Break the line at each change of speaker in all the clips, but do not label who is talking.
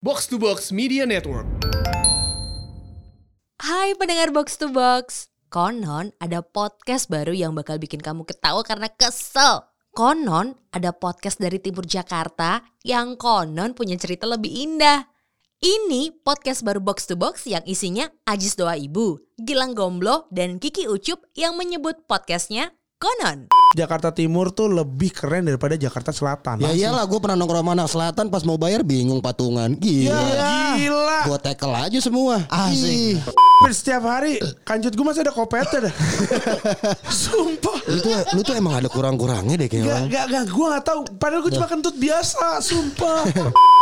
Box to Box Media Network.
Hai pendengar Box to Box. Konon ada podcast baru yang bakal bikin kamu ketawa karena kesel. Konon ada podcast dari timur Jakarta yang konon punya cerita lebih indah. Ini podcast baru Box to Box yang isinya Ajis Doa Ibu, Gilang Gomblo, dan Kiki Ucup yang menyebut podcastnya Konon.
Jakarta Timur tuh lebih keren daripada Jakarta Selatan.
Ya iyalah gue pernah nongkrong sama anak selatan pas mau bayar bingung patungan.
Ya,
Gila.
gila.
Gue tackle aja semua.
Ih,
Asik.
hampir setiap hari kancut gue masih ada kopetnya dah. Sumpah.
Lu tuh, lu tuh emang ada kurang-kurangnya deh
Gak,
kayaknya.
gak, gak, gue gak tau. Padahal
Nah.
gue cuma kentut biasa, sumpah.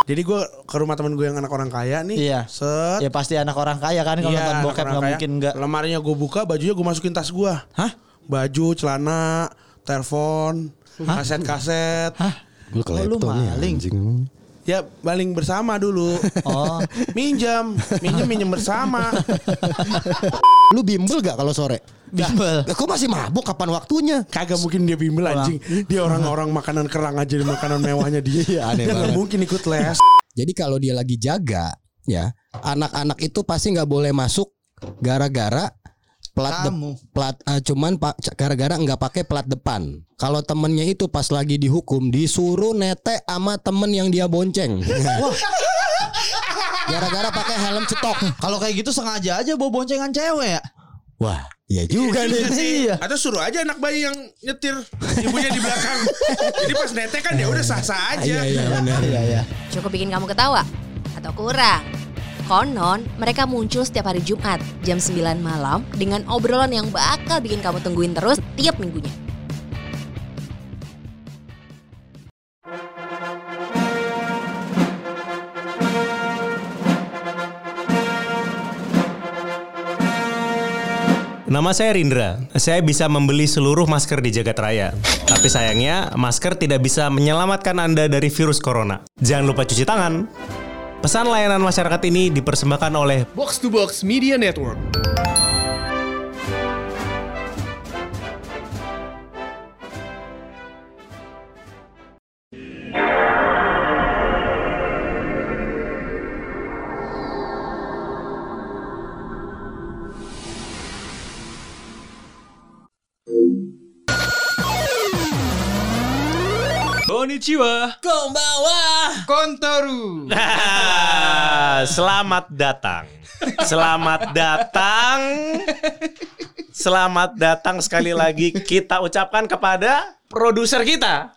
Jadi gue ke rumah temen gue yang anak orang kaya nih.
Iya.
Set.
Ya pasti anak orang kaya kan kalau
Iya,
nonton
anak
bokep
orang
nggak
kaya.
mungkin nggak.
Lemarinya gue buka, bajunya gue masukin tas gue.
Hah?
Baju, celana, telepon, kaset-kaset.
Hah?
Lu klepto
Oh, lu
nih
maling.
anjing.
Ya baling bersama dulu.
Oh,
Minjam, minjem minjem bersama.
Lu bimbel gak kalau sore?
bimbel.
Lah, Kok masih mabuk kapan waktunya?
Kagak mungkin dia bimbel anjing. Dia orang-orang makanan kerang aja di makanan mewahnya dia.
Iya,
dia
aneh
nggak
banget.
mungkin ikut les.
Jadi kalau dia lagi jaga ya, anak-anak itu pasti nggak boleh masuk gara-gara plat de-
Kamu.
plat eh, cuman pa- gara-gara nggak pakai plat depan. Kalau temennya itu pas lagi dihukum disuruh nete sama temen yang dia bonceng. Wah. Gara-gara pakai helm cetok.
Kalau kayak gitu sengaja aja bawa boncengan cewek ya.
Wah, iya juga nih.
Iya.
Atau suruh aja anak bayi yang nyetir ibunya di belakang. Jadi pas netek kan ya udah sah-sah
Iya
aja.
iya benar.
Iya ya.
Cukup bikin kamu ketawa? Atau kurang? Konon, mereka muncul setiap hari Jumat jam 9 malam dengan obrolan yang bakal bikin kamu tungguin terus tiap minggunya.
Nama saya Rindra. Saya bisa membeli seluruh masker di jagat raya. Tapi sayangnya, masker tidak bisa menyelamatkan Anda dari virus corona. Jangan lupa cuci tangan. Pesan layanan masyarakat ini dipersembahkan oleh
Box to Box Media Network.
Konnichiwa.
Kontoru.
Nah, selamat datang. Selamat datang. Selamat datang sekali lagi kita ucapkan kepada produser kita.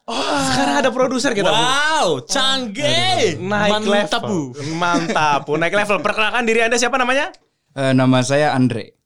Sekarang ada produser kita. Bu.
Wow, canggih.
Naik
Mantap,
level. Mantap, Bu. Naik level. Perkenalkan diri Anda siapa namanya?
nama saya Andre.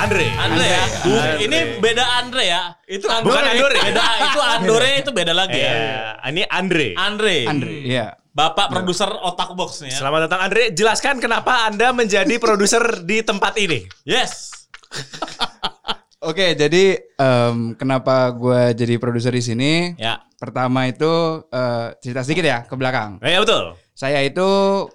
Andre.
Andre ya.
Andre.
Ini beda Andre ya. Itu Andre.
Bukan Andore.
Beda, itu Andore itu beda lagi ya.
Iya, ini Andre.
Andre.
Andre, ya.
Bapak produser otak box nih ya.
Selamat datang Andre. Jelaskan kenapa Anda menjadi produser di tempat ini.
Yes.
Oke, jadi em, kenapa gue jadi produser di sini?
Ya.
Pertama itu eh, cerita sedikit ya ke belakang.
Eh, betul.
Saya itu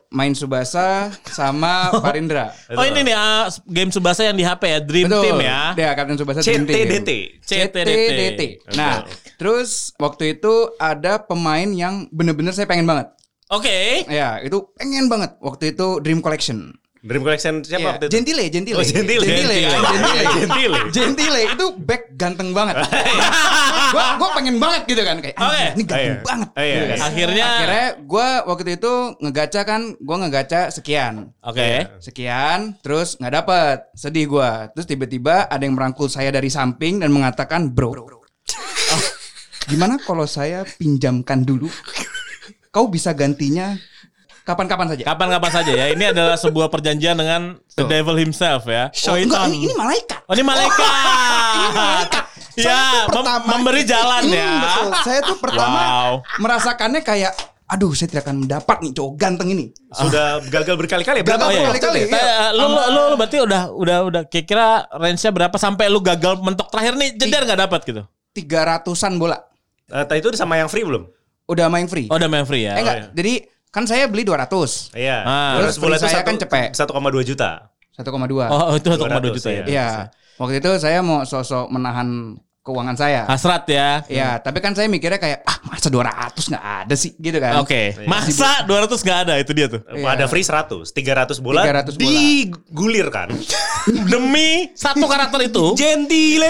main Subasa sama Parindra.
Oh ini nih ah, game Subasa yang di HP ya, Dream Team ya.
Ya, Kapten Subasa Dream Team.
CTDT.
CTDT.
Betul.
Nah, terus waktu itu ada pemain yang bener-bener saya pengen banget.
Oke.
Ya, itu pengen banget. Waktu itu Dream Collection.
Dream Collection siapa
Iya,
waktu itu?
Gentile, Gentile.
Oh, Gentile.
Gentile,
Gentile.
Gentile.
Gentile.
Gentile itu back ganteng banget. gua gua pengen banget gitu kan kayak
Oke.
"Anjir, ini ganteng
Iya.
banget.
Iya.
Gitu kan.
Akhirnya-
akhirnya gua waktu itu ngegaca kan, gua ngegaca sekian.
Oke.
Sekian, terus nggak dapet. Sedih gua. Terus tiba-tiba ada yang merangkul saya dari samping dan mengatakan, "Bro, oh, gimana kalau saya pinjamkan dulu? Kau bisa gantinya kapan-kapan saja."
Kapan-kapan saja ya. Ini adalah sebuah perjanjian dengan The Devil himself ya.
Oh, enggak, ini, ini malaikat.
Oh ini malaikat.
Ini malaikat. Saya
Ya,
tuh
mem- memberi jalan
Hmm,
ya.
betul. Saya tuh pertama
Wow.
merasakannya kayak aduh saya tidak akan mendapat nih cowok ganteng ini.
Sudah gagal berkali-kali.
Gagal
berapa?
Oh, iya.
berkali-kali. ya?
Tapi, eh, lu, lu, lu, lu berarti udah udah udah kira-kira range-nya berapa sampai lu
Iya.
gagal mentok terakhir nih jeder nggak dapat gitu.
Tiga ratusan bola.
Eh, tadi itu sama yang free belum?
Udah main free.
Oh, udah main free ya.
eh enggak, jadi kan saya beli 200.
Iya.
Ah.
Terus
Terus
bulan itu
saya
satu,
kan cepek.
1,2 juta.
1,2.
Oh, itu 1,2
200,
juta ya.
Iya. Waktu itu saya mau sosok menahan keuangan saya.
Hasrat ya.
Iya, tapi kan saya mikirnya kayak ah masa 200 nggak ada sih gitu kan.
Oke. Masa 200 nggak ada itu dia tuh.
Iya.
Ada free 100, 300 bulan
300 bulan.
digulirkan demi
Satu karakter itu
gentile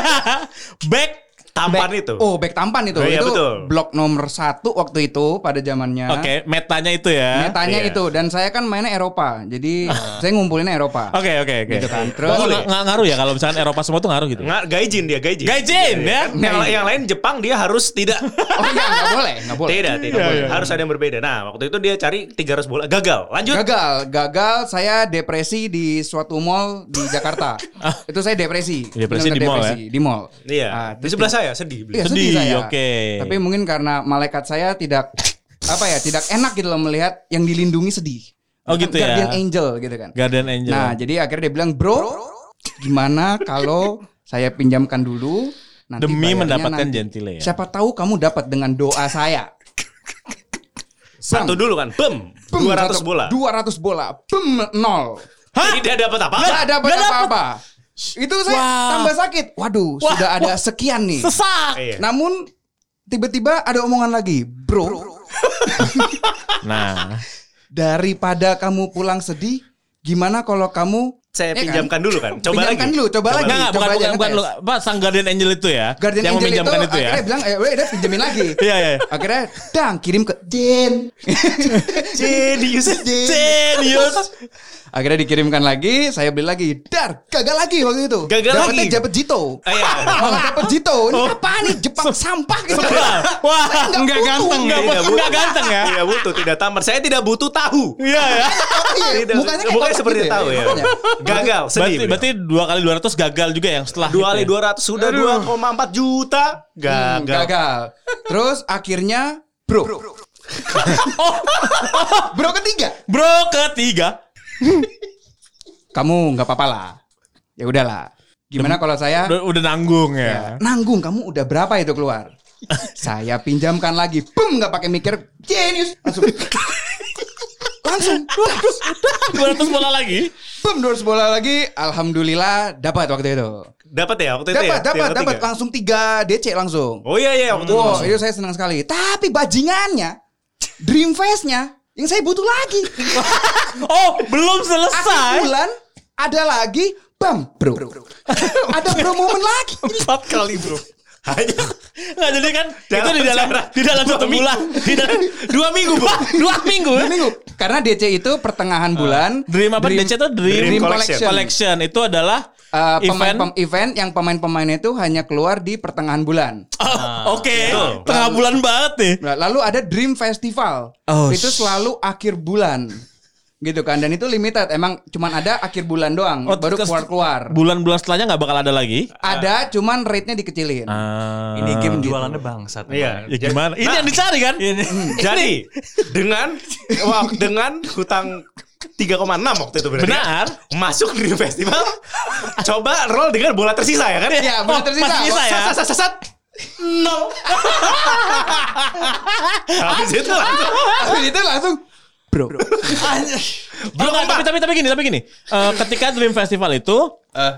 back tampan
Back-
itu.
Oh, back tampan
Oh,
itu.
iya,
itu
betul.
blok nomor satu waktu itu pada zamannya.
Oke, metanya itu ya.
Metanya
Iya.
itu dan saya kan mainnya Eropa. Jadi saya ngumpulinnya Eropa.
Oke, oke, oke.
Gitu kan. Terus-
Nggak- nggak- nggak ngaruh ya kalau misalkan Eropa semua tuh ngaruh gitu.
Nggak, gaijin dia gaijin. Iya,
Gaijin, ya?
Yang, yang lain Jepang dia harus tidak
Nah, iya. Oh enggak, enggak boleh, enggak boleh. Iya,
tidak tidak boleh. harus ada yang berbeda. Nah waktu itu dia cari 300 bola gagal. Lanjut.
Gagal, gagal saya depresi di suatu mall di Jakarta. itu saya depresi.
Ah. Depresi
Benar-benar
di mall, ya?
depresi, Di mall.
Iya.
Ah,
di
terus
sebelah saya sedih.
Iya,
beliau.
sedih,
Sedih,
saya.
oke.
Tapi mungkin karena malaikat saya tidak apa ya, tidak enak gitu loh melihat yang dilindungi sedih.
Oh, gitu ya.
Guardian angel gitu kan.
Guardian Angel.
Nah, jadi akhirnya dia bilang, "Bro, gimana kalau saya pinjamkan dulu nanti
Demi
bayarnya
mendapatkan
nanti.
Gentile ya?"
Siapa tahu kamu dapat dengan doa saya."
Satu dulu kan, bem,
Bem,
200
satu-
bola.
200 bola. Bem, nol.
Jadi dia dapat apa?
Gak dapat apa-apa. Itu saya tambah sakit. Waduh, sudah ada sekian nih.
Sesak.
Iya.
Namun tiba-tiba ada omongan lagi, "Bro,
Nah,
daripada kamu pulang sedih, gimana kalau kamu
Saya
Ya kan?
pinjamkan dulu kan. Coba
Pinjamkan
lagi.
dulu, coba lagi.
enggak enggak bukan
coba aja
bukan bukan
ngetes.
lu apa sang Guardian Angel itu ya.
Guardian
yang
Angel
meminjamkan itu, ya.
akhirnya bilang, eh, udah, udah pinjemin lagi.
Iya, iya.
Akhirnya, dang, kirim ke Jen.
Genius.
Genius.
Akhirnya dikirimkan lagi, saya beli lagi. Dar, gagal lagi waktu itu.
Gagal
Dapetnya
lagi?
Dapet Jito.
Ah, iya.
Malah dapet Jito. Ini apa nih, Jepang sampah gitu.
Wah,
Enggak Iya, ganteng.
Enggak
Tidak
butuh,
butuh.
enggak ganteng ya.
Tidak butuh, tidak tampan. Saya tidak butuh tahu.
Iya ya.
Iya,
Tidak,
mukanya kayak
mukanya
kotak
seperti
gitu
tahu ya.
Makanya.
Gagal,
Berarti
sedih.
berarti 2 kali 200 gagal juga yang setelah
2 kali
itu ya.
200 sudah 2,4 juta.
Hmm,
Gagal.
Gagal. Terus akhirnya, bro. Bro ketiga.
Bro ketiga.
Kamu nggak apa-apa lah. Ya udahlah. Gimana kalau saya
Udah, udah nanggung ya.
Nanggung kamu udah berapa itu keluar? Saya pinjamkan lagi. Pum nggak pakai mikir. Genius. Langsung. Langsung. Iya.
200 bola lagi.
Pum 200 bola lagi. Alhamdulillah dapat waktu itu.
Dapat ya waktu itu
Dapat,
ya?
dapat,
Yang
dapat.
ketiga.
Langsung 3 DC langsung.
Oh iya iya waktu itu.
Wow, itu saya senang sekali. Tapi bajingannya, dream fest-nya yang saya butuh lagi.
Oh, belum
Akhir
selesai.
bulan ada lagi bam bro. ada bro momen lagi.
4 kali, Bro. Hanya
Nggak jadi kan itu
Dalam
di dalam
acara.
di dalam satu bulan, di dalam 2 minggu, Pak. 2 minggu.
Dua minggu. Karena DC itu pertengahan bulan.
Dream apa? DC itu Dream,
Dream
Collection. Collection. Itu adalah
Eh, pemain
event.
event. event yang pemain-pemainnya itu hanya keluar di pertengahan bulan.
Oh, Oke, tengah bulan banget nih.
Nah, Lalu ada Dream Festival.
Oh,
itu selalu akhir bulan. Gitu kan dan itu limited. Emang cuman ada akhir bulan doang
Oh,
baru
kes-
keluar-keluar.
Bulan-bulan setelahnya nggak bakal ada lagi.
Ada cuman rate-nya dikecilin.
Ah. Ini
game Eh, jualannya bangsat.
Iya.
ya gimana? Ini yang dicari kan?
Jadi dengan wah, dengan hutang 3,6 waktu itu berarti.
Benar.
Masuk di festival. coba roll dengan bola tersisa ya kan?
Iya, bola tersisa.
masih sisa ya. Sat, sat, sat, sat. Nol. Habis itu langsung.
Habis itu langsung bro.
Oh, enggak, tapi tapi tapi gini, tapi gini. Eh, ketika Dream Festival itu,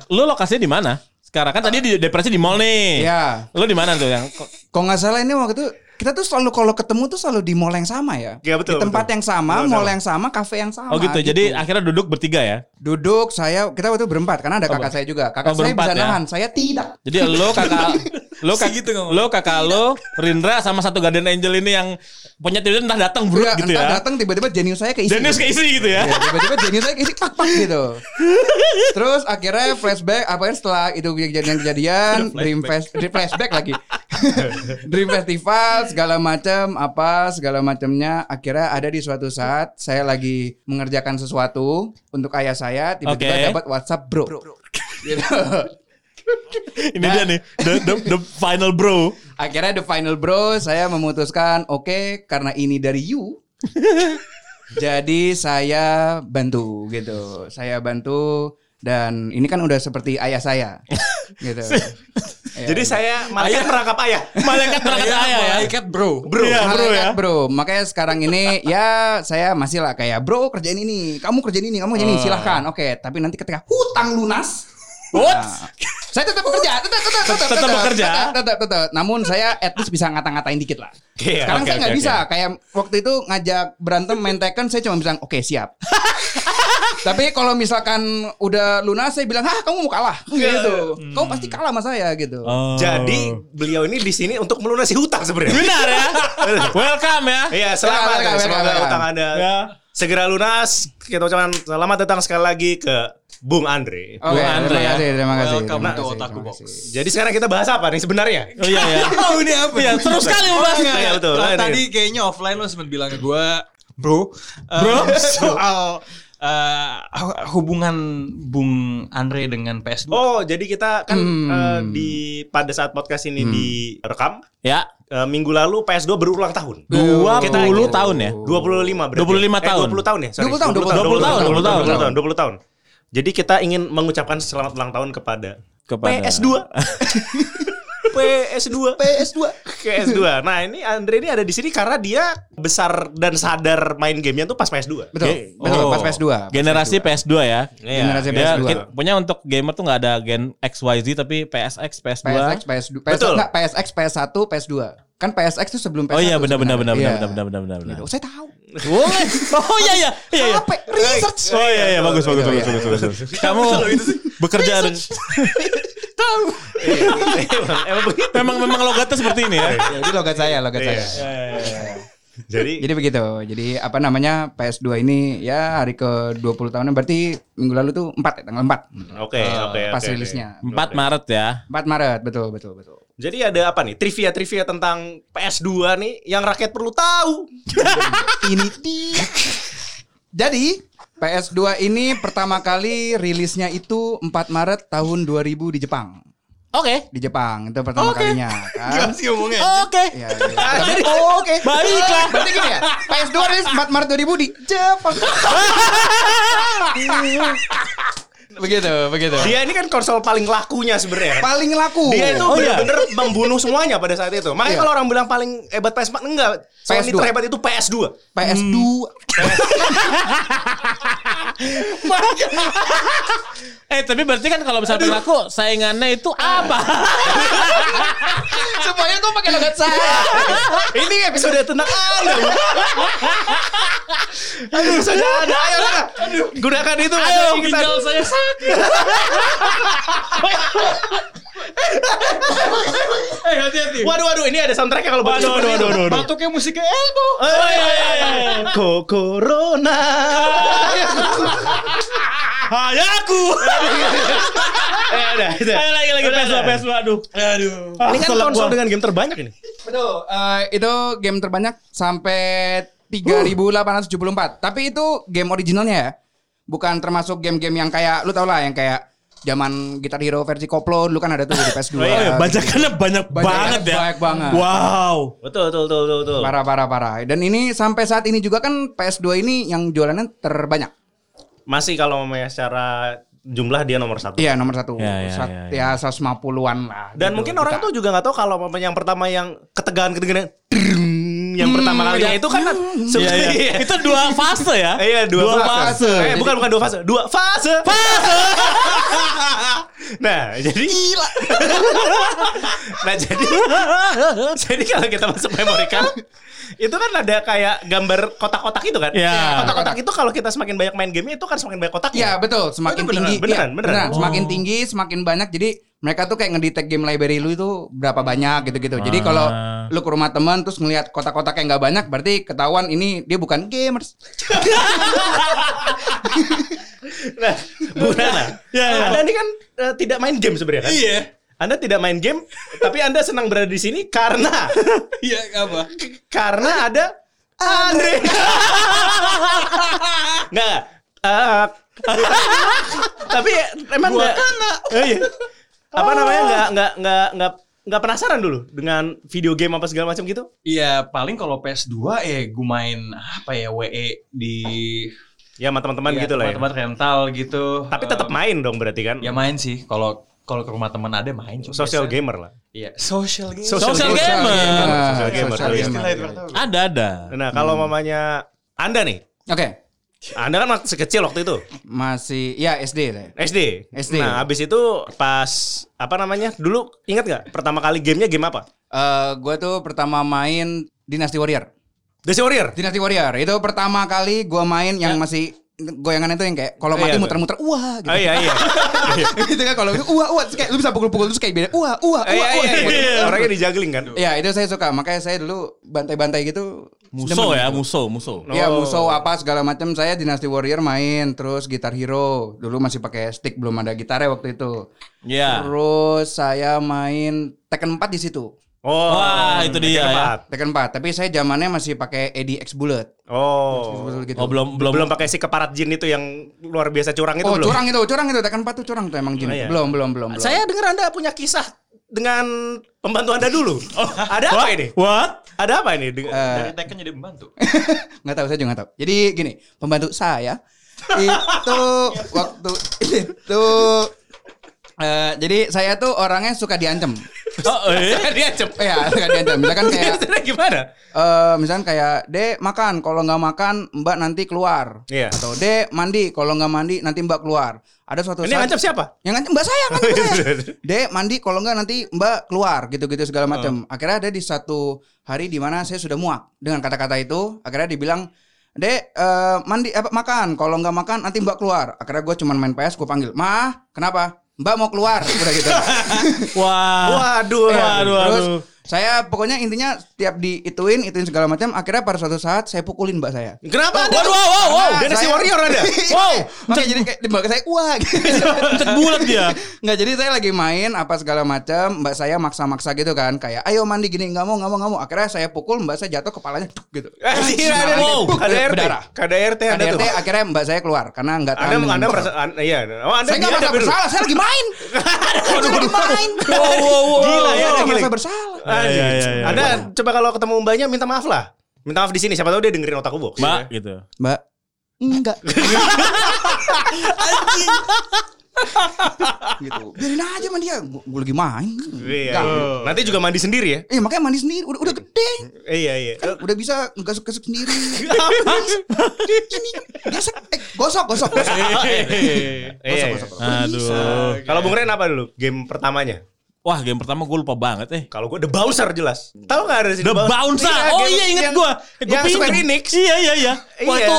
lu lokasinya di mana? Sekarang kan tadi di depresi di mall nih.
Iya.
Lu di mana tuh yang
Kok nggak salah ini waktu itu kita tuh selalu kalau ketemu tuh selalu di mall yang sama ya.
Iya, betul,
di tempat
betul.
yang sama,
Betul,
mall
sama.
yang sama, kafe yang sama.
Oh gitu. Jadi akhirnya duduk bertiga ya.
duduk saya kita waktu itu berempat karena ada kakak saya juga.
Oh,
Kakak saya
berempat
bisa
ya?
nahan, saya tidak.
Jadi lo kakak lo kak,
gitu
lo kakak lo Rindra sama satu Guardian Angel ini yang punya tidur entah datang bro
Iya,
gitu
entah
ya.
datang tiba-tiba jenius saya keisi.
Genius keisi gitu ya.
Iya, tiba-tiba jenius saya keisi pak pak gitu. Terus akhirnya flashback apanya setelah itu kejadian-kejadian dream fest dream flashback lagi. dream festival segala macam apa segala macamnya akhirnya ada di suatu saat saya lagi mengerjakan sesuatu untuk ayah saya tiba-tiba
Oke.
dapat WhatsApp bro. Gitu.
Ini dia nih the, the, the final bro.
Akhirnya the final bro, saya memutuskan oke karena ini dari you. jadi saya bantu gitu. Saya bantu Dan ini kan udah seperti ayah saya. gitu. Iya,
Jadi
iya.
saya malaikat perangkap ayah.
Malaikat berangkat ayah ya.
kan Malaikat bro.
Bro, ya,
Malaikat
bro ya.
bro. Makanya sekarang ini ya saya masih lah kayak bro kerjain ini, kamu kerjain ini, kamu
Oh.
kerjain ini, silahkan. Oke, tapi nanti ketika hutang lunas,
What?
nah, saya tetap bekerja, tetap tetap tetap
Tetap bekerja.
tetap, tetap tetap. Namun saya at least bisa ngata-ngatain dikit lah.
Oke,
Sekarang
oke,
saya nggak
oke,
bisa. Kayak waktu itu ngajak berantem main Tekken, saya cuma bilang oke siap. Tapi kalau misalkan udah lunas, saya bilang hah kamu mau kalah gitu. Kamu pasti kalah sama saya gitu.
Iya. Hmm. Oh.
Jadi beliau ini di sini untuk melunasi hutang sebenarnya.
benar ya. Welcome ya.
Iya, selamat.
Welcome, welcome,
Semoga
welcome.
hutang Anda
Ya.
segera lunas. Kita ucapkan selamat datang sekali lagi ke Bung Andre.
Oke,
Bu Andre
terima
ya.
kasih, terima kasih.
Welcome
terima
to
kasih,
Otaku
terima
Box.
kasih.
Jadi sekarang kita bahas apa nih sebenarnya?
Oh iya ya.
Tahu nih apa?
Iya, terus sekali membahasnya.
Iya, betul.
Lah,
Nah, ini.
tadi kayaknya offline lo sempat bilang ke gue, bro, bro soal eh, hu- hubungan Bung Andre dengan PS2.
Oh, jadi kita kan
Hmm.
eh, di pada saat podcast ini direkam
Ya.
eh, minggu lalu PS2 berulang tahun.
20 tahun ya.
25 berarti.
25
Eh,
tahun.
20 tahun ya? Sorry.
20 tahun,
20 tahun,
20 tahun,
20 tahun.
20 tahun. Jadi kita ingin mengucapkan selamat ulang tahun kepada,
Kepada-
PS2. PS2. PS2. PS2. Nah, ini Andre ini ada di sini karena dia besar dan sadar main gamenya tuh pas PS2.
Betul,
Ge-
betul,
Oh.
pas PS2. pas
Generasi PS2 ya.
Iya.
Generasi
Ya,
PS2.
kit- punya untuk gamer tuh nggak ada gen XYZ tapi PSX, PS2.
PSX, PS2, PS1,
Betul.
enggak, PSX, PS1, PS2. Kan PSX itu sebelum PS1.
Oh iya benar benar benar
sebenarnya.
benar benar
Iya.
benar benar benar.
Gitu. Saya tahu.
Boleh. Oh iya iya iya iya.
Apa? Research.
Oh iya iya bagus bagus bagus bagus.
Iya.
bagus. Kamu bekerja dengan
Emang- Emang begitu.
memang memang logatnya seperti ini ya.
Ya, itu logat saya, logat
Iya.
saya.
Jadi
Jadi begitu. Jadi apa namanya PS2 ini ya hari ke 20 tahunnya berarti minggu lalu tuh 4 ya, tanggal 4.
oke oke
pas
oke,
rilisnya.
oke.
4 Maret ya.
4 Maret, betul betul betul.
Jadi ada apa nih? Trivia-trivia tentang PS2 nih yang rakyat perlu tahu.
ini dia. Jadi PS2 ini pertama kali rilisnya itu 4 Maret tahun 2000 di Jepang.
Oke.
Di Jepang itu pertama kalinya kan.
Masih ngomongnya.
Oke.
Iya, iya. Tapi- oh, oke.
Baiklah.
Berarti gini ya. PS2 rilis 4 Maret 2000 di Jepang. begitu, begitu.
Iya.
Dia ini kan konsol paling lakunya sebenarnya. kan?
Paling laku.
Dia itu
Oh, iya.
bener-bener membunuh semuanya pada saat itu. Makanya
Iya.
kalau orang bilang paling hebat PS4 enggak. Sony
PS2.
terhebat itu PS2.
PS2.
Eh tapi berarti kan kalau misalnya pelaku saingannya itu apa?
Semuanya kok pakai logat saya.
ini episode tentang Anda. Aduh, episode Anda. Ayo, Anda. Gunakan itu.
Ayo
kita.
ginjal saya sakit.
Eh, hati-hati.
Waduh, waduh. Ini ada soundtracknya kalau
Waduh, waduh, waduh, waduh.
Batuknya musik ke elbow.
Oh, iya, iya, iya. Ko Corona.
Hayaku.
eh, udah, itu.
Ayo lagi lagi PS2 PS2 aduh. Aduh.
Ini kan konsol dengan game terbanyak ini.
Betul. eh, itu game terbanyak sampai 3874. Tapi itu game originalnya ya. Bukan termasuk game-game yang kayak lu tau lah yang kayak zaman Gitar Hero versi koplo dulu kan ada tuh di PS2.
Oh iya, bajakannya banyak, banget ya.
Banyak banget.
Wow.
Betul, betul, betul, betul. betul.
Parah parah parah. Dan ini sampai saat ini juga kan PS2 ini yang jualannya terbanyak.
Masih kalau secara jumlah dia nomor satu.
Iya nomor satu.
Ya, ya,
Sat-
ya,
ya, 150-an lah.
Dan
gitu,
mungkin orang
kita.
tuh juga nggak tahu kalau apa yang pertama yang ketegangan-ketegangan drrrrng, yang pertama kalinya itu kan
Iya,
sebenarnya
iya. Itu dua fase ya.
Iya, dua,
Dua
fase.
fase.
Eh, bukan bukan dua fase, dua fase. Fase. nah, jadi nah, jadi
Iya.
jadi kalau kita masuk memory card itu kan ada kayak gambar kotak-kotak itu kan?
Iya.
Kotak-kotak itu kalau kita semakin banyak main game itu kan semakin banyak kotaknya.
Iya betul,
Oh,
semakin
itu beneran,
tinggi.
beneran,
Iya,
beneran. Oh.
Semakin tinggi, semakin banyak. Jadi mereka tuh kayak ngedetect game library lu itu berapa banyak gitu-gitu. Jadi
Ah.
kalau lu ke rumah teman terus ngelihat kotak-kotak yang nggak banyak, berarti ketahuan ini dia bukan gamers.
Nah, Bu Nana,
Iya, iya.
Anda ini kan eh, tidak main game sebenarnya kan?
Iya.
Anda tidak main game, tapi Anda senang berada di sini karena
Iya, apa?
karena ada Andre. Enggak. eh, tapi emang enggak iya. Apa namanya enggak enggak enggak enggak enggak penasaran dulu dengan video game apa segala macam gitu?
Iya, paling kalau PS2 ya gue main apa ya WE di
Ya sama teman-teman
Iya,
gitu lah ya.
Tempat-tempat rental gitu.
Tapi
Eh,
tetap main dong berarti kan.
Ya main sih kalau kalau ke rumah teman ada main cuma
Social
biasa.
gamer lah.
Iya, social game.
Social
Social gamer.
Social gamer.
Social Hmm.
Iya.
gamer.
Ada ada.
Nah, kalau mamanya Anda nih,
Oke,
Anda kan masih kecil waktu itu,
masih ya SD saya.
SD.
SD.
Nah, abis itu pas apa namanya? Dulu ingat nggak pertama kali gamenya game apa?
Eh, gue tuh pertama main Dynasty Warrior.
Dynasty Warrior.
Dynasty Warrior itu pertama kali gue main yang masih goyangan itu yang kayak kalau mati
Ya. Iya, iya.
muter-muter wah gitu.
Oh iya iya.
gitu kan kalau wah wah terus kayak lu bisa pukul-pukul terus kayak beda wah wah wah
Eh, iya,
wah.
iya,
gitu.
iya. Orangnya dijagling kan.
Ya itu saya suka makanya saya dulu bantai-bantai gitu.
Musuh ya, musuh, musuh.
Ya
Oh.
musuh apa segala macam saya Dynasty Warrior main terus Guitar Hero dulu masih pakai stick belum ada gitarnya waktu itu.
Iya.
Terus saya main Tekken 4 di situ.
Oh.
Wah, itu dia ya.
keempat.
Tekken 4 tapi saya zamannya masih pakai ADX Bullet.
Oh.
Gitu.
Oh belum belum
Belum pakai si keparat jin itu yang luar biasa curang itu
oh,
belum.
ya?
curang itu, curang itu Tekken 4 tuh curang tuh emang jin.
Oh, iya.
Belum, belum, belum, belum.
Saya dengar Anda punya kisah dengan pembantu Anda dulu. Oh, ada apa ini?
What?
Ada apa ini? Dengan-
Dari
Eh.
Tekken jadi membantu.
nggak tahu saya juga nggak tahu jadi gini pembantu saya itu waktu itu eh, jadi saya tuh orangnya suka diancam
Oh, eh?
dia cep.
ya suka diancam misalkan kayak
gimana?
eh, misalkan kayak dek makan kalau nggak makan mbak nanti keluar
Iya.
atau dek mandi kalau nggak mandi nanti mbak keluar ada suatu
Ini yang ngancam Oh, iya, siapa?
yang ngancam mbak saya ngancam saya dek mandi kalau nggak nanti mbak keluar gitu-gitu segala macam akhirnya ada di satu hari di mana saya sudah muak dengan kata-kata itu akhirnya dibilang dek eh, mandi apa makan kalau nggak makan nanti mbak keluar akhirnya gue cuman main PS gue panggil mah kenapa mbak mau keluar udah gitu
Wah.
Waduh.
Iya.
Waduh,
terus
waduh.
saya pokoknya intinya tiap diituin ituin segala macam akhirnya pada suatu saat saya pukulin mbak saya
Kenapa
Oh,
Anda?
waduh, wow, wow, wow.
Karena
Dia nasi
saya- Iya.
warrior Anda.
Wow.
Makanya jadi kayak mbak saya wah gitu.
Cet bulat dia.
Nggak jadi saya lagi main apa segala macam mbak saya maksa-maksa gitu kan kayak ayo mandi gini nggak mau nggak mau nggak mau akhirnya saya pukul mbak saya jatuh kepalanya duk, gitu
Anjir, ada
Wow.
ada RT.
Berdarah.
Ada RT Iya, ada tuh.
KDRT akhirnya mbak saya keluar karana nggak tahan
Anda
dengan
Anda
dor.
merasa an- iya. Oh, Anda
saya nggak merasa
diadab dulu.
bersalah saya lagi main saya lagi main
Gila ya, ada
saya nggak merasa
giling.
bersalah
Anjir.
Iya, iya, iya.
Anda coba kalau ketemu mbaknya minta maaf lah. Minta maaf di sini siapa tahu dia dengerin otak box.
Mbak gitu.
mbak enggak gitu biarin aja mandi ya gue lagi main
Iya.
Enggak.
iya. Nanti juga mandi sendiri ya.
Eh makanya mandi sendiri udah, udah gede
Iya iya.
udah bisa ngesek-ngesek sendiri. Ini gesek eh gosok gosok. gosok.
Iya.
gosok, gosok.
Aduh.
Kalau Bung Ren apa dulu game pertamanya?
Wah, game pertama gue lupa banget eh.
Kalau gue The Bouncer jelas. Tahu nggak ada sih
The Bouncer. Oh iya inget
yang-
gue. Gue
yang Square Enix.
Iya iya iya. Wah
iya,
itu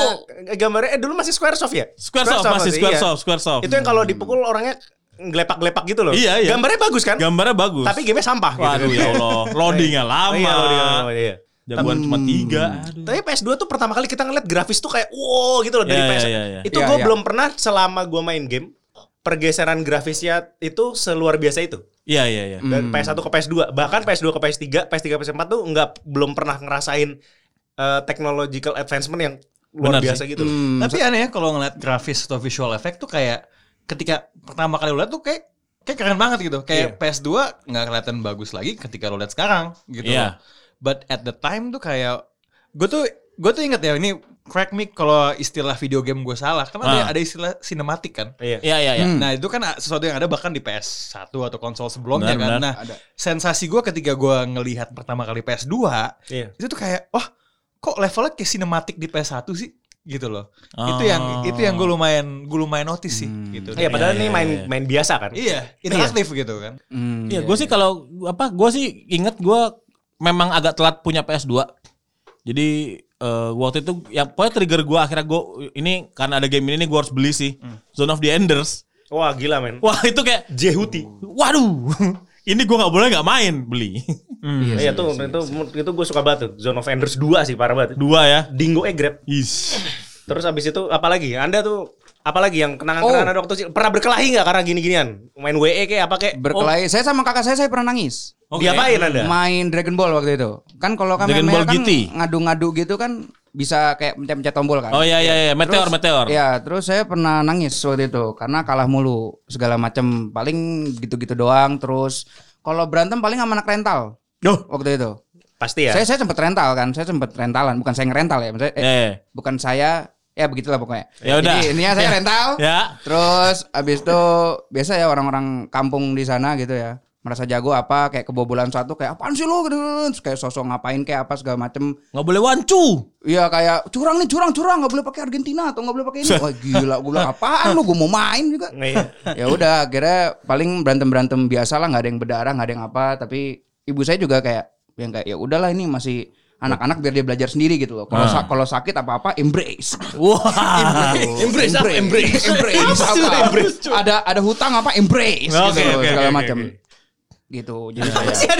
gambarnya eh dulu masih Squaresoft ya? iya.
Squaresoft masih Squaresoft, Squaresoft.
Itu yang kalau dipukul orangnya ngelepak-ngelepak gitu loh.
Iya, iya.
Gambarnya bagus kan?
gambarnya bagus.
Tapi gamenya sampah
Waduh
gitu.
ya Allah, loadingnya lama.
Iya, loading lama, iya.
Jagoan cuma tiga. Aduh.
Tapi PS2 tuh pertama kali kita ngeliat grafis tuh kayak wow gitu loh dari
Iya,
PS.
iya, iya, iya.
Itu
Iya,
gue
iya.
belum pernah selama gue main game pergeseran grafisnya itu seluar biasa itu.
Iya iya iya.
dari PS1 ke PS2 bahkan PS2 ke PS3 PS3 ke PS4 tuh nggak belum pernah ngerasain eh, technological advancement yang luar
Benar
biasa gitu
Tapi aneh ya kalau ngeliat grafis atau visual effect tuh kayak ketika pertama kali lo liat tuh kayak kayak keren banget gitu. Kayak PS2 nggak kelihatan bagus lagi ketika lo liat sekarang gitu.
Iya.
But at the time tuh kayak gue tuh gue tuh inget ya ini crack me kalau istilah video game gue salah. Karena ada-
Ah.
ada istilah sinematik kan.
iya
Iya iya iya.
Hmm.
Nah itu kan sesuatu yang ada bahkan di PS1 atau konsol sebelumnya kan.
Benar,
Nah
benar.
sensasi gue ketika gue ngelihat pertama kali PS2
Iya.
itu tuh kayak wah kok levelnya kayak sinematik di PS1 sih gitu loh. Itu
Ah.
yang itu yang gue lumayan gue lumayan notice sih
Hmm.
gitu.
Iya, padahal
Iya,
ini
iya,
main
iya.
main biasa kan
Iya, interaktif gitu kan.
Iya, gue sih kalau apa gue sih inget gue memang agak telat punya PS2. Jadi eh, waktu itu ya pokoknya trigger gue akhirnya gue ini karena ada game ini gue harus beli sih
Hmm.
Zone of the Enders.
wah gila men
Wah itu kayak
Jehuti
waduh ini gue nggak boleh nggak main beli
iya, tuh itu itu gue suka banget tuh Zone of Enders 2 sih parah banget
dua ya.
Dingo eh Grab
Is.
terus abis itu apalagi anda tuh apalagi yang kenangan-kenangan
Oh.
ada waktu kecil? pernah berkelahi nggak karena gini-ginian main WE kayak apa kayak
Berkelahi. Saya sama kakak saya saya pernah nangis.
Oke.
diapain anda
Main Dragon Ball waktu itu. Kan kalau kan
Dragon
main
Ball
kan
GT.
ngadu-ngadu gitu kan bisa kayak mencet-mencet tombol kan.
Oh iya iya iya meteor
Terus-
meteor.
Ya, terus saya pernah nangis waktu itu karena kalah mulu segala macam. Paling gitu-gitu doang terus kalau berantem paling sama anak rental.
Duh.
Waktu itu.
pasti ya
Iya.
Saya saya sempat rental kan, saya sempat rentalan, bukan saya ngerental ya, maksudnya eh,
Eh.
bukan saya Ya begitulah pokoknya.
Ya udah.
Jadi intinya saya
Ya.
rental.
Ya.
Terus abis itu biasa ya orang-orang kampung di sana gitu ya merasa jago apa kayak kebobolan satu kayak apaan sih lo gitu Terus kayak sosok ngapain kayak apa segala macem
Nggak boleh wancu.
Iya kayak curang nih curang curang nggak boleh pakai Argentina atau nggak boleh pakai ini. Wah gila gue bilang apaan lu gue mau main juga.
Iya.
ya udah akhirnya paling berantem berantem biasa lah nggak ada yang berdarah nggak ada yang apa tapi ibu saya juga kayak yang kayak ya udahlah ini masih anak-anak biar dia belajar sendiri gitu loh. Kalau sa- kalau sakit apa-apa embrace.
Wah.
embrace, apa? embrace, embrace, apa? Ada ada hutang apa embrace
Oke,
gitu
oke,
segala
oke,
macam.
oke.
Gitu. Jadi saya.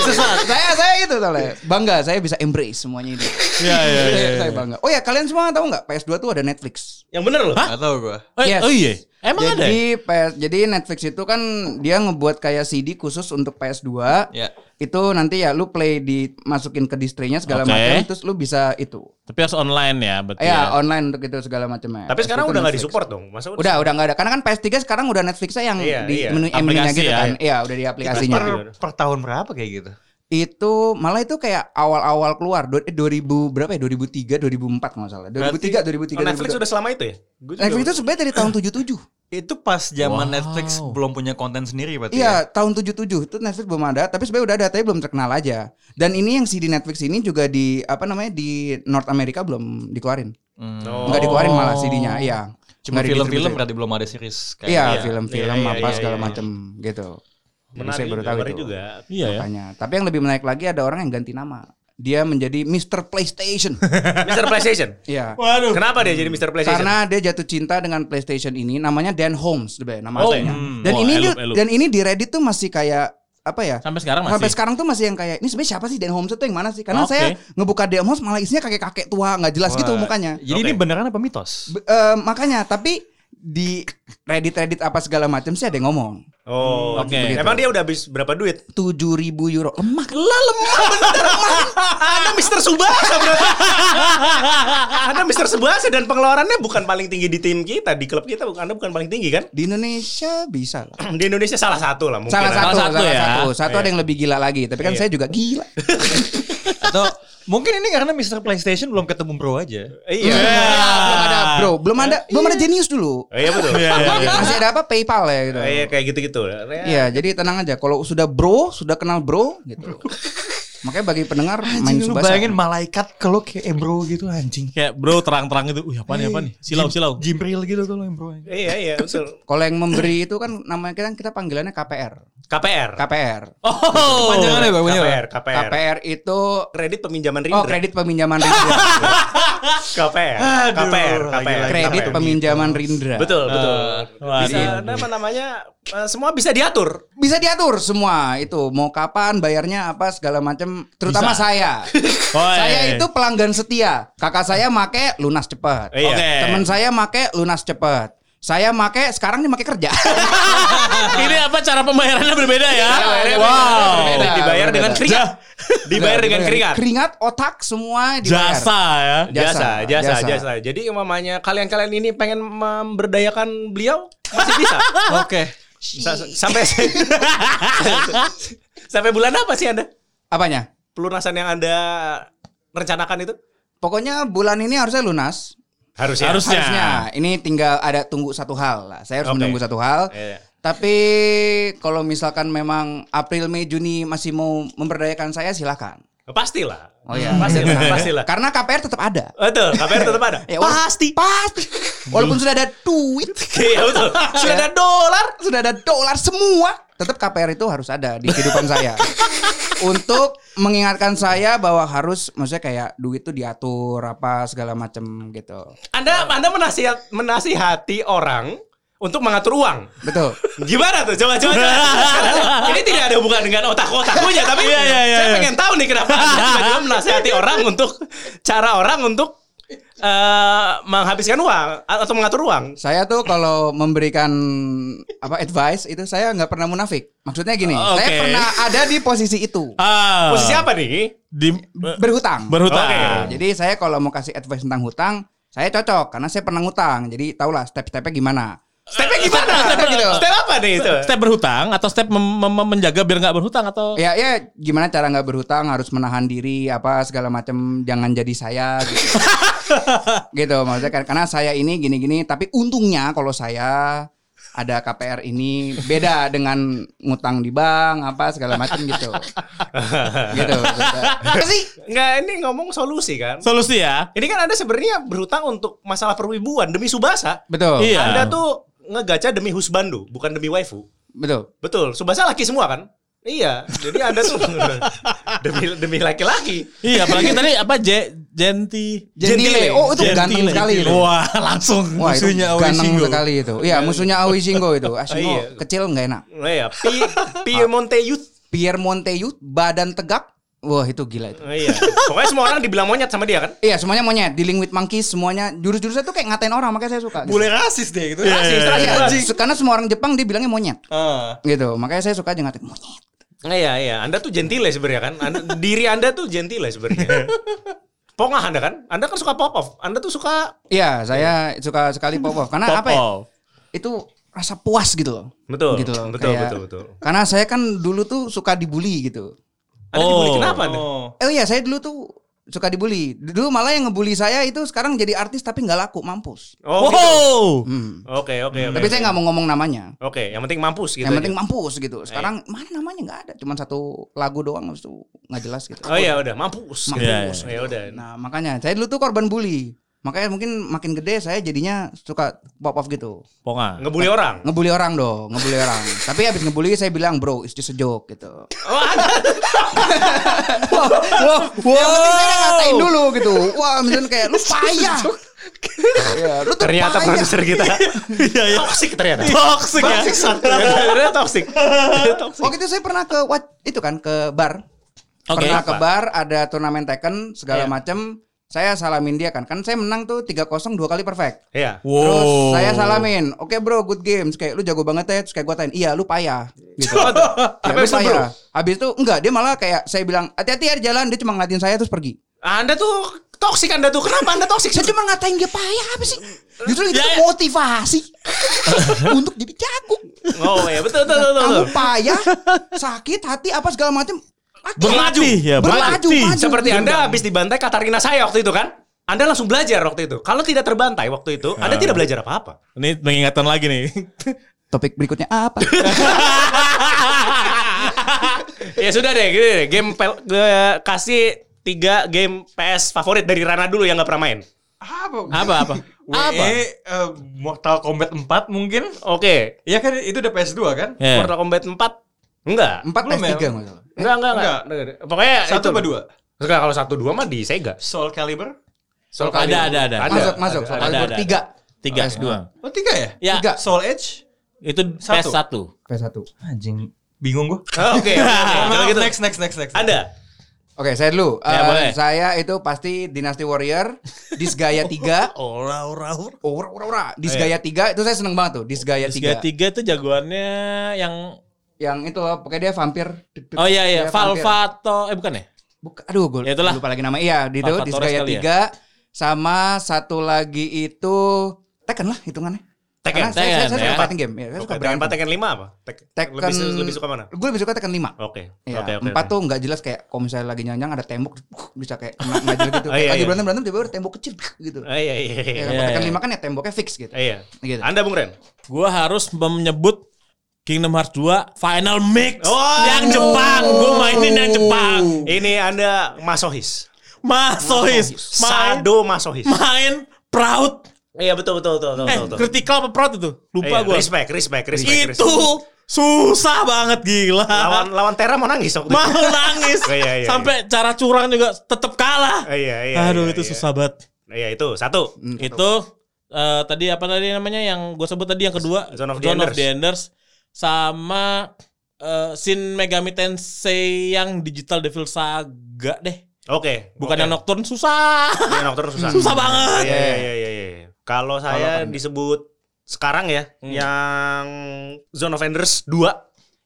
sesat. Saya saya itu soalnya. Bangga saya bisa embrace semuanya itu.
Iya, iya,
Saya-
iya.
Saya bangga. Oh ya kalian semua tahu nggak PS2 tuh ada Netflix.
Yang bener loh.
Gak tau gue.
Eh,
Yes.
Oh iya. Emang ada. ya?
jadi PS, jadi Netflix itu kan dia ngebuat kayak CD khusus untuk PS2.
Ya.
Iya.
Itu nanti ya lu play di masukin ke display-nya
Oke.
segala macam terus lu bisa itu.
Tapi harus online ya, betul.
Ya,
ya.
online untuk itu segala macamnya.
Tapi sekarang
Itu
udah nggak
gitu Netflix.
disupport dong. Masa
Udah, udah nggak ada. Karena kan PS3 sekarang udah Netflix-nya yang
Iya,
di
iya.
menu menunya
Aplikasi
gitu
ya,
kan. Iya, udah di aplikasinya.
Per, per tahun berapa kayak gitu?
Itu malah itu kayak awal-awal keluar Du- eh, 2000 berapa ya? 2003, 2004 kalau nggak salah. 2003, 2003.
Oh, Netflix
2002.
udah selama itu ya? Gua juga-
Netflix itu sebenarnya dari tahun 77.
Itu pas zaman Netflix belum punya konten sendiri berarti ya.
ya?
Iya, tahun 77 itu Netflix belum ada, tapi sebenarnya udah ada, tapi belum terkenal aja. Dan ini yang si di Netflix ini juga di apa namanya di North America belum dikeluarin.
Oh,
Enggak dikeluarin malah CD-nya, iya.
Cuma
Nggak di
film-film
distribusi.
berarti belum ada series kayak
Iya,
Iya,
film-film
iya, iya,
apa
iya,
segala
iya.
macem gitu. Jadi
menarik,
saya baru
juga,
tahu
menarik
itu.
juga.
Iya ya.
Makanya. Tapi yang lebih menarik lagi ada orang yang ganti nama. Dia menjadi Mr. PlayStation.
Mr. PlayStation.
Iya.
Waduh. Kenapa dia jadi Mr. PlayStation?
Karena dia jatuh cinta dengan PlayStation ini, namanya Dan Holmes, deh, nama
Oh,
aslinya.
hmm.
Dan
Wah,
ini
elup,
di-
elup.
dan ini di Reddit tuh masih kayak apa ya?
Sampai sekarang masih.
Sampai sekarang tuh masih yang kayak ini sebenarnya siapa sih Dan Holmes itu yang mana sih? Karena
Oke.
saya ngebuka Dan Holmes malah isinya kakek-kakek tua nggak jelas gitu mukanya.
Jadi ini beneran apa mitos?
Be- eh, makanya tapi di Reddit Reddit apa segala macam sih ada yang ngomong
Oh,
Hmm,
Oke.
oke. Emang dia udah habis berapa duit?
tujuh ribu euro lemah
Lah lemah bener lemah. Anda Mr. Subasa berarti. Anda Mr. Subasa dan pengeluarannya bukan paling tinggi di tim kita, di klub kita bukan Anda bukan paling tinggi kan?
di Indonesia bisa lah.
Di Indonesia salah satu lah mungkin.
Salah
Anda.
satu,
satu
salah
ya.
satu, satu ada yang lebih gila lagi. Tapi kan
Iya.
saya juga gila.
Atau mungkin ini karena Mr. PlayStation belum ketemu bro aja.
Iya.
belum ada bro, belum ada, belum ada jenius dulu.
Oh, Iya betul. Iya, iya, iya.
Masih ada apa PayPal ya gitu.
Oh, Iya kayak gitu-gitu. Ya.
Iya, jadi tenang aja. Kalau sudah bro, sudah kenal bro gitu. Makanya bagi pendengar main
Anjing lu
subasa.
bayangin malaikat ke lo kayak embro gitu anjing.
Kayak bro terang-terang gitu. Wih, apa nih, apa nih? Silau, silau.
Jimril gitu tuh lo embro. anjing.
Iya iya betul.
Kalau yang memberi itu kan namanya kita kita panggilannya KPR.
KPR.
KPR.
Oh.
Panjangannya Bang, punya, Bang.
KPR, KPR.
KPR itu
Kredit peminjaman
oh
Rindra.
kredit peminjaman Rindra.
KPR.
Aduh,
KPR, KPR.
lagi-lagi.
kredit
KPR.
peminjaman Rindra.
ya, gitu. Betul, betul.
waduh.
bisa apa namanya? eh, semua bisa diatur.
Bisa diatur semua itu mau kapan bayarnya apa segala macam terutama saya.
Oh,
Woi.
iya,
saya itu pelanggan setia. Kakak saya make lunas cepat.
Iya.
Oke.
Temen saya make lunas cepat. Saya make sekarang dia make kerja.
Ini apa cara pembayarannya berbeda ya?
Cara
Wow.
Oh,
pembayarannya berbeda.
Dibayar dengan keringat. Nah, Dibayar dengan keringat.
Keringat, otak semua dibayar.
Jasa ya.
Jasa, jasa, jasa, Jadi mamanya kalian-kalian ini pengen memberdayakan beliau masih bisa.
Oke.
Sa- sa- sampai sampai bulan apa sih Anda?
Apanya?
Pelunasan yang Anda rencanakan itu?
Pokoknya bulan ini harusnya lunas.
Harusnya.
Harusnya.
Ya, Harusnya. Ini tinggal ada tunggu satu hal lah. Saya harus
Oke.
menunggu satu hal.
Iya.
Tapi kalau misalkan memang April, Mei, Juni masih mau memberdayakan saya silakan.
Pastilah.
Oh iya.
Pastilah, pastilah.
Karena KPR tetap ada.
Betul, KPR tetap ada.
Ya, wala- Pasti. Walaupun sudah ada duit,
Iya, betul.
sudah ada dolar, sudah ada dolar semua, tetap KPR itu harus ada di kehidupan saya. Untuk mengingatkan saya bahwa harus maksudnya kayak duit itu diatur apa segala macem gitu.
Anda Anda menasihat menasihati orang untuk mengatur uang.
Betul.
Gimana tuh? Coba coba. coba. Ini tidak ada hubungan dengan otak-otaknya, tapi saya pengen tahu nih kenapa Anda tiba-tiba menasihati orang untuk cara orang untuk eh, menghabiskan uang atau mengatur uang.
Saya tuh kalau memberikan apa advice itu saya nggak pernah munafik. Maksudnya gini,
Oh,
saya
oke.
pernah ada di posisi itu
Ah.
Posisi apa nih?
Di,
berhutang.
berhutang.
Oke.
Jadi saya kalau mau kasih advice tentang hutang, saya cocok karena saya pernah ngutang. Jadi tahulah step-stepnya gimana. Gitu.
Stepnya gimana? Step,
Step apa nih itu?
step berhutang atau step mem- mem- menjaga biar nggak berhutang atau
Ya ya gimana cara nggak berhutang harus menahan diri apa segala macam jangan jadi saya gitu. gitu maksudnya kan karena saya ini gini-gini tapi untungnya kalau saya ada KPR ini beda dengan ngutang di bank apa segala macam gitu. gitu.
Apa sih? Nggak, ini ngomong solusi kan?
solusi ya?
Ini kan Anda sebenarnya berhutang untuk masalah perwibuan demi Subasa.
Betul.
Iya.
Anda tuh ngegaca demi husbando, bukan demi waifu.
Betul.
Betul, Subasa laki semua kan? Iya, jadi Anda tuh demi demi laki-laki.
Iya, apalagi tadi apa Je, Genti.
Gentile. Oh itu ganteng sekali itu.
Wah, langsung
Wah, itu
musuhnya Aoi
ganteng
Shingo.
sekali itu. Iya, musuhnya Aoi Shingo itu. Ah, Shingo
Iya.
kecil nggak enak.
Nah, ya, Pi Piemonte Youth.
Pierre Monteyut badan tegap. Wah, itu gila itu.
Nah, iya. Pokoknya semua orang dibilang monyet sama dia kan?
Iya, semuanya monyet. Dealing with monkeys semuanya jurus-jurusnya tuh kayak ngatain orang, makanya saya suka. Gitu.
Boleh rasis deh gitu.
Rasis,
Iya,
rasis,
iya,
rasis. Karena semua orang Jepang dia bilangnya monyet.
Ah.
Gitu. Makanya saya suka aja ngatain monyet.
Nah, iya, iya. Anda tuh gentile sebenarnya kan? Anda- diri Anda tuh gentile sebenarnya. Pongah Anda kan? Anda kan suka pop off. Anda tuh suka
Iya, saya suka sekali pop off karena apa ya?
Popol.
Itu rasa puas gitu loh.
Betul,
Gitu loh.
betul,
kayak-
betul, betul.
Karena saya kan dulu tuh suka dibully gitu.
Anda dibully
Oh.
kenapa Anda?
Oh.
Oh iya, saya dulu tuh suka dibully. Dulu malah yang ngebully saya itu sekarang jadi artis tapi nggak laku, mampus.
Oh, gitu.
Wow.
Hmm.
Oke, oke, oke.
Tapi saya nggak mau ngomong namanya.
Oke, yang penting mampus gitu.
yang
aja.
penting mampus gitu. Sekarang mana namanya nggak ada, cuman satu lagu doang habis itu nggak jelas gitu.
Oh iya udah mampus.
Mampus.
gitu.
Iya,
Ya udah.
Nah makanya saya dulu tuh korban bully. Makanya mungkin makin gede saya jadinya suka pop off gitu.
Ponga.
Ngebully orang.
Ngebully orang dong, ngebully orang. Tapi habis ngebully saya bilang bro, it's just a joke gitu. wow, wow, wow. Yang penting saya ngatain dulu gitu. Wah, misalnya kayak lu payah. ya, lu tuh Iya.
Ternyata
payah.
produser kita Iya, toxic ternyata.
Toxic ya.
Ternyata toxic. Toxic.
Waktu itu saya pernah ke what itu kan ke bar.
Oke.
pernah ke bar ada turnamen Tekken segala macem. Saya salamin dia kan. Kan saya menang tuh 3-0 dua kali perfect.
Iya.
Terus
Oh.
saya salamin, oke bro, good games. Kayak lu jago banget ya. Terus kayak gue tain, iya lu payah. Gitu.
Oh,
Ya, lu
Habis itu, bro?
payah. Habis itu enggak, dia malah kayak saya bilang hati-hati ya di jalan. Dia cuma ngeliatin saya terus pergi.
Anda tuh toxic Anda tuh. Kenapa Anda toxic?
Saya cuma ngatain dia payah apa sih? Justru itu
Ya, ya.
motivasi untuk jadi jago.
Oh iya betul betul betul. betul.
Kamu payah, sakit hati apa segala macem. Laki.
Berlatih, ya,
berlaju,
berlatih.
maju.
Seperti
Gitu.
Anda habis dibantai Katarina saya waktu itu kan? Anda langsung belajar waktu itu. Kalau tidak terbantai waktu itu,
Ah.
Anda tidak belajar apa-apa.
Ini mengingatkan lagi nih.
Topik berikutnya apa?
ya sudah deh, gini deh. Game pel- gue kasih tiga game PS favorit dari Rana dulu yang nggak pernah main.
Apa?
Apa apa?
WE eh, Mortal Kombat 4 mungkin.
Oke.
Iya kan itu udah PS2 kan?
Eh.
Mortal Kombat 4? Enggak.
Empat
Belum
S3
ya?
nggak salah.
Enggak, enggak, enggak. Pokoknya
Satu
itu.
apa dua?
Enggak, kalau satu dua mah di Sega.
Soul Calibur?
Soal
Ada ada ada.
Ada.
Masuk, masuk.
ada,
Soal
ada,
Calibur
ada.
tiga.
Tiga
PS2.
dua.
Oh tiga ya?
Ya,
Tiga.
Soul Edge?
itu
Satu.
PS satu.
PS1.
Anjing. Bingung gua.
Oh, Oke, oke, oke. Kalau gitu.
Next, next, next, next.
Ada.
Oke, saya dulu.
Ya,
Eh,
boleh.
Saya itu pasti Dynasty Warrior, Disgaea 3.
Ora ora ora.
Ora ora ora. Disgaea 3 itu saya seneng banget tuh,
Oh, iya.
Disgaea
Tiga Ya,
3.
tiga itu jagoannya yang
Yang itu loh, pokoknya dia vampir.
Oh iya iya,
Dia vampir.
Valvato eh bukan ya?
Buka- aduh, gue
Ya, itulah.
lupa lagi nama. Iya, di itu
Alpha Torres
Disgaea
kali ya.
3 sama satu lagi itu Tekken lah hitungannya.
Tekken,
Karena saya, saya, saya
Tekken,
suka
ya.
fighting game. Ya, saya
Oke,
suka
Tekken
berantem.
4, Tekken 5 apa? Tek-
Tekken
lebih, su- lebih suka mana?
Gue lebih suka Tekken 5.
Oke.
Iya,
Oke, oke.
empat
oke.
tuh nggak jelas kayak kalau misalnya lagi nyanyang ada tembok bisa kayak kena ngajar gitu.
Oh, iya,
lagi
iya.
berantem berantem tiba-tiba ada tembok kecil gitu.
Ah, Iya, iya,
Ya,
iya.
kalau Tekken lima kan ya temboknya fix gitu.
Iya.
Gitu.
Anda Bung Ren?
Gua harus menyebut Kingdom Hearts 2 Final Mix
Oh.
yang Jepang. Gua mainin yang Jepang.
Ini Anda masohis.
Masohis. Main,
Sado masohis.
main proud.
Iya, betul betul betul betul.
Eh,
betul, betul.
critical apa proud itu? Lupa
Iya,
gua. Gitu.
Respect, respect, respect. respect.
Itu susah banget gila.
lawan lawan Tera mau nangis waktu itu.
Mau nangis.
Iya, iya, iya.
Sampai cara curang juga tetap kalah.
Iya, iya.
Aduh
iya,
itu
iya.
susah banget.
Iya, itu. Satu.
Itu eh, tadi apa tadi namanya yang gue sebut tadi yang kedua
Zone of the Enders.
Enders. sama eh, Shin Megami Tensei yang Digital Devil Saga deh.
Oke.
Bukan
oke.
yang Nocturne susah.
Iya, Nocturne susah.
Susah
Iya,
banget.
iya, iya, iya, iya. Kalau saya disebut sekarang ya, yang Zone of Enders 2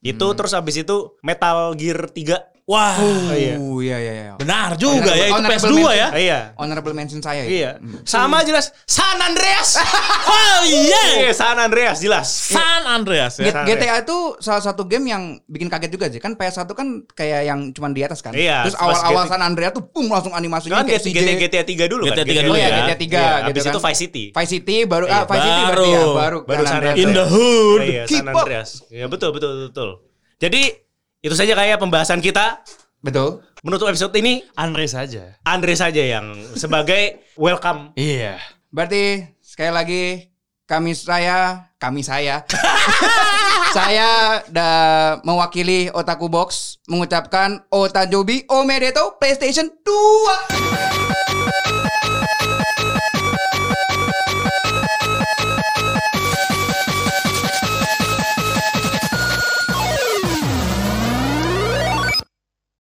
itu terus habis itu Metal Gear 3
Wah,
Oh iya iya iya.
benar juga ya itu PS2
Honorable
ya.
mention.
Iya.
Honorable mention saya. ya?
Iya. Sama jelas San Andreas.
Oh iya.
Iya, San Andreas jelas.
San Andreas ya.
G- GTA itu salah satu game yang bikin kaget juga sih. Kan PS1 kan kayak yang cuman di atas kan.
Iya,
Terus
pas
awal-awal
GTA
San Andrea tuh boom langsung animasinya
Kan
kayak
GTA, GTA,
CJ.
GTA 3 dulu kan.
GTA tiga dulu
Oh
ya.
ya GTA 3 gitu
Habis
kan.
itu Vice City. Iya,
Vice City baru ah Vice City berarti ya, baru
baru
San
San
Andreas.
In the hood.
Iya, San
Keep up.
Andreas. Ya betul betul betul, betul. Jadi itu saja kayak pembahasan kita
Betul.
menutup episode ini
Andre saja.
Andre saja yang sebagai welcome.
Iya.
Berarti sekali lagi kami saya, kami saya. saya da, mewakili Otaku Box mengucapkan Otajobi Omedeto PlayStation 2.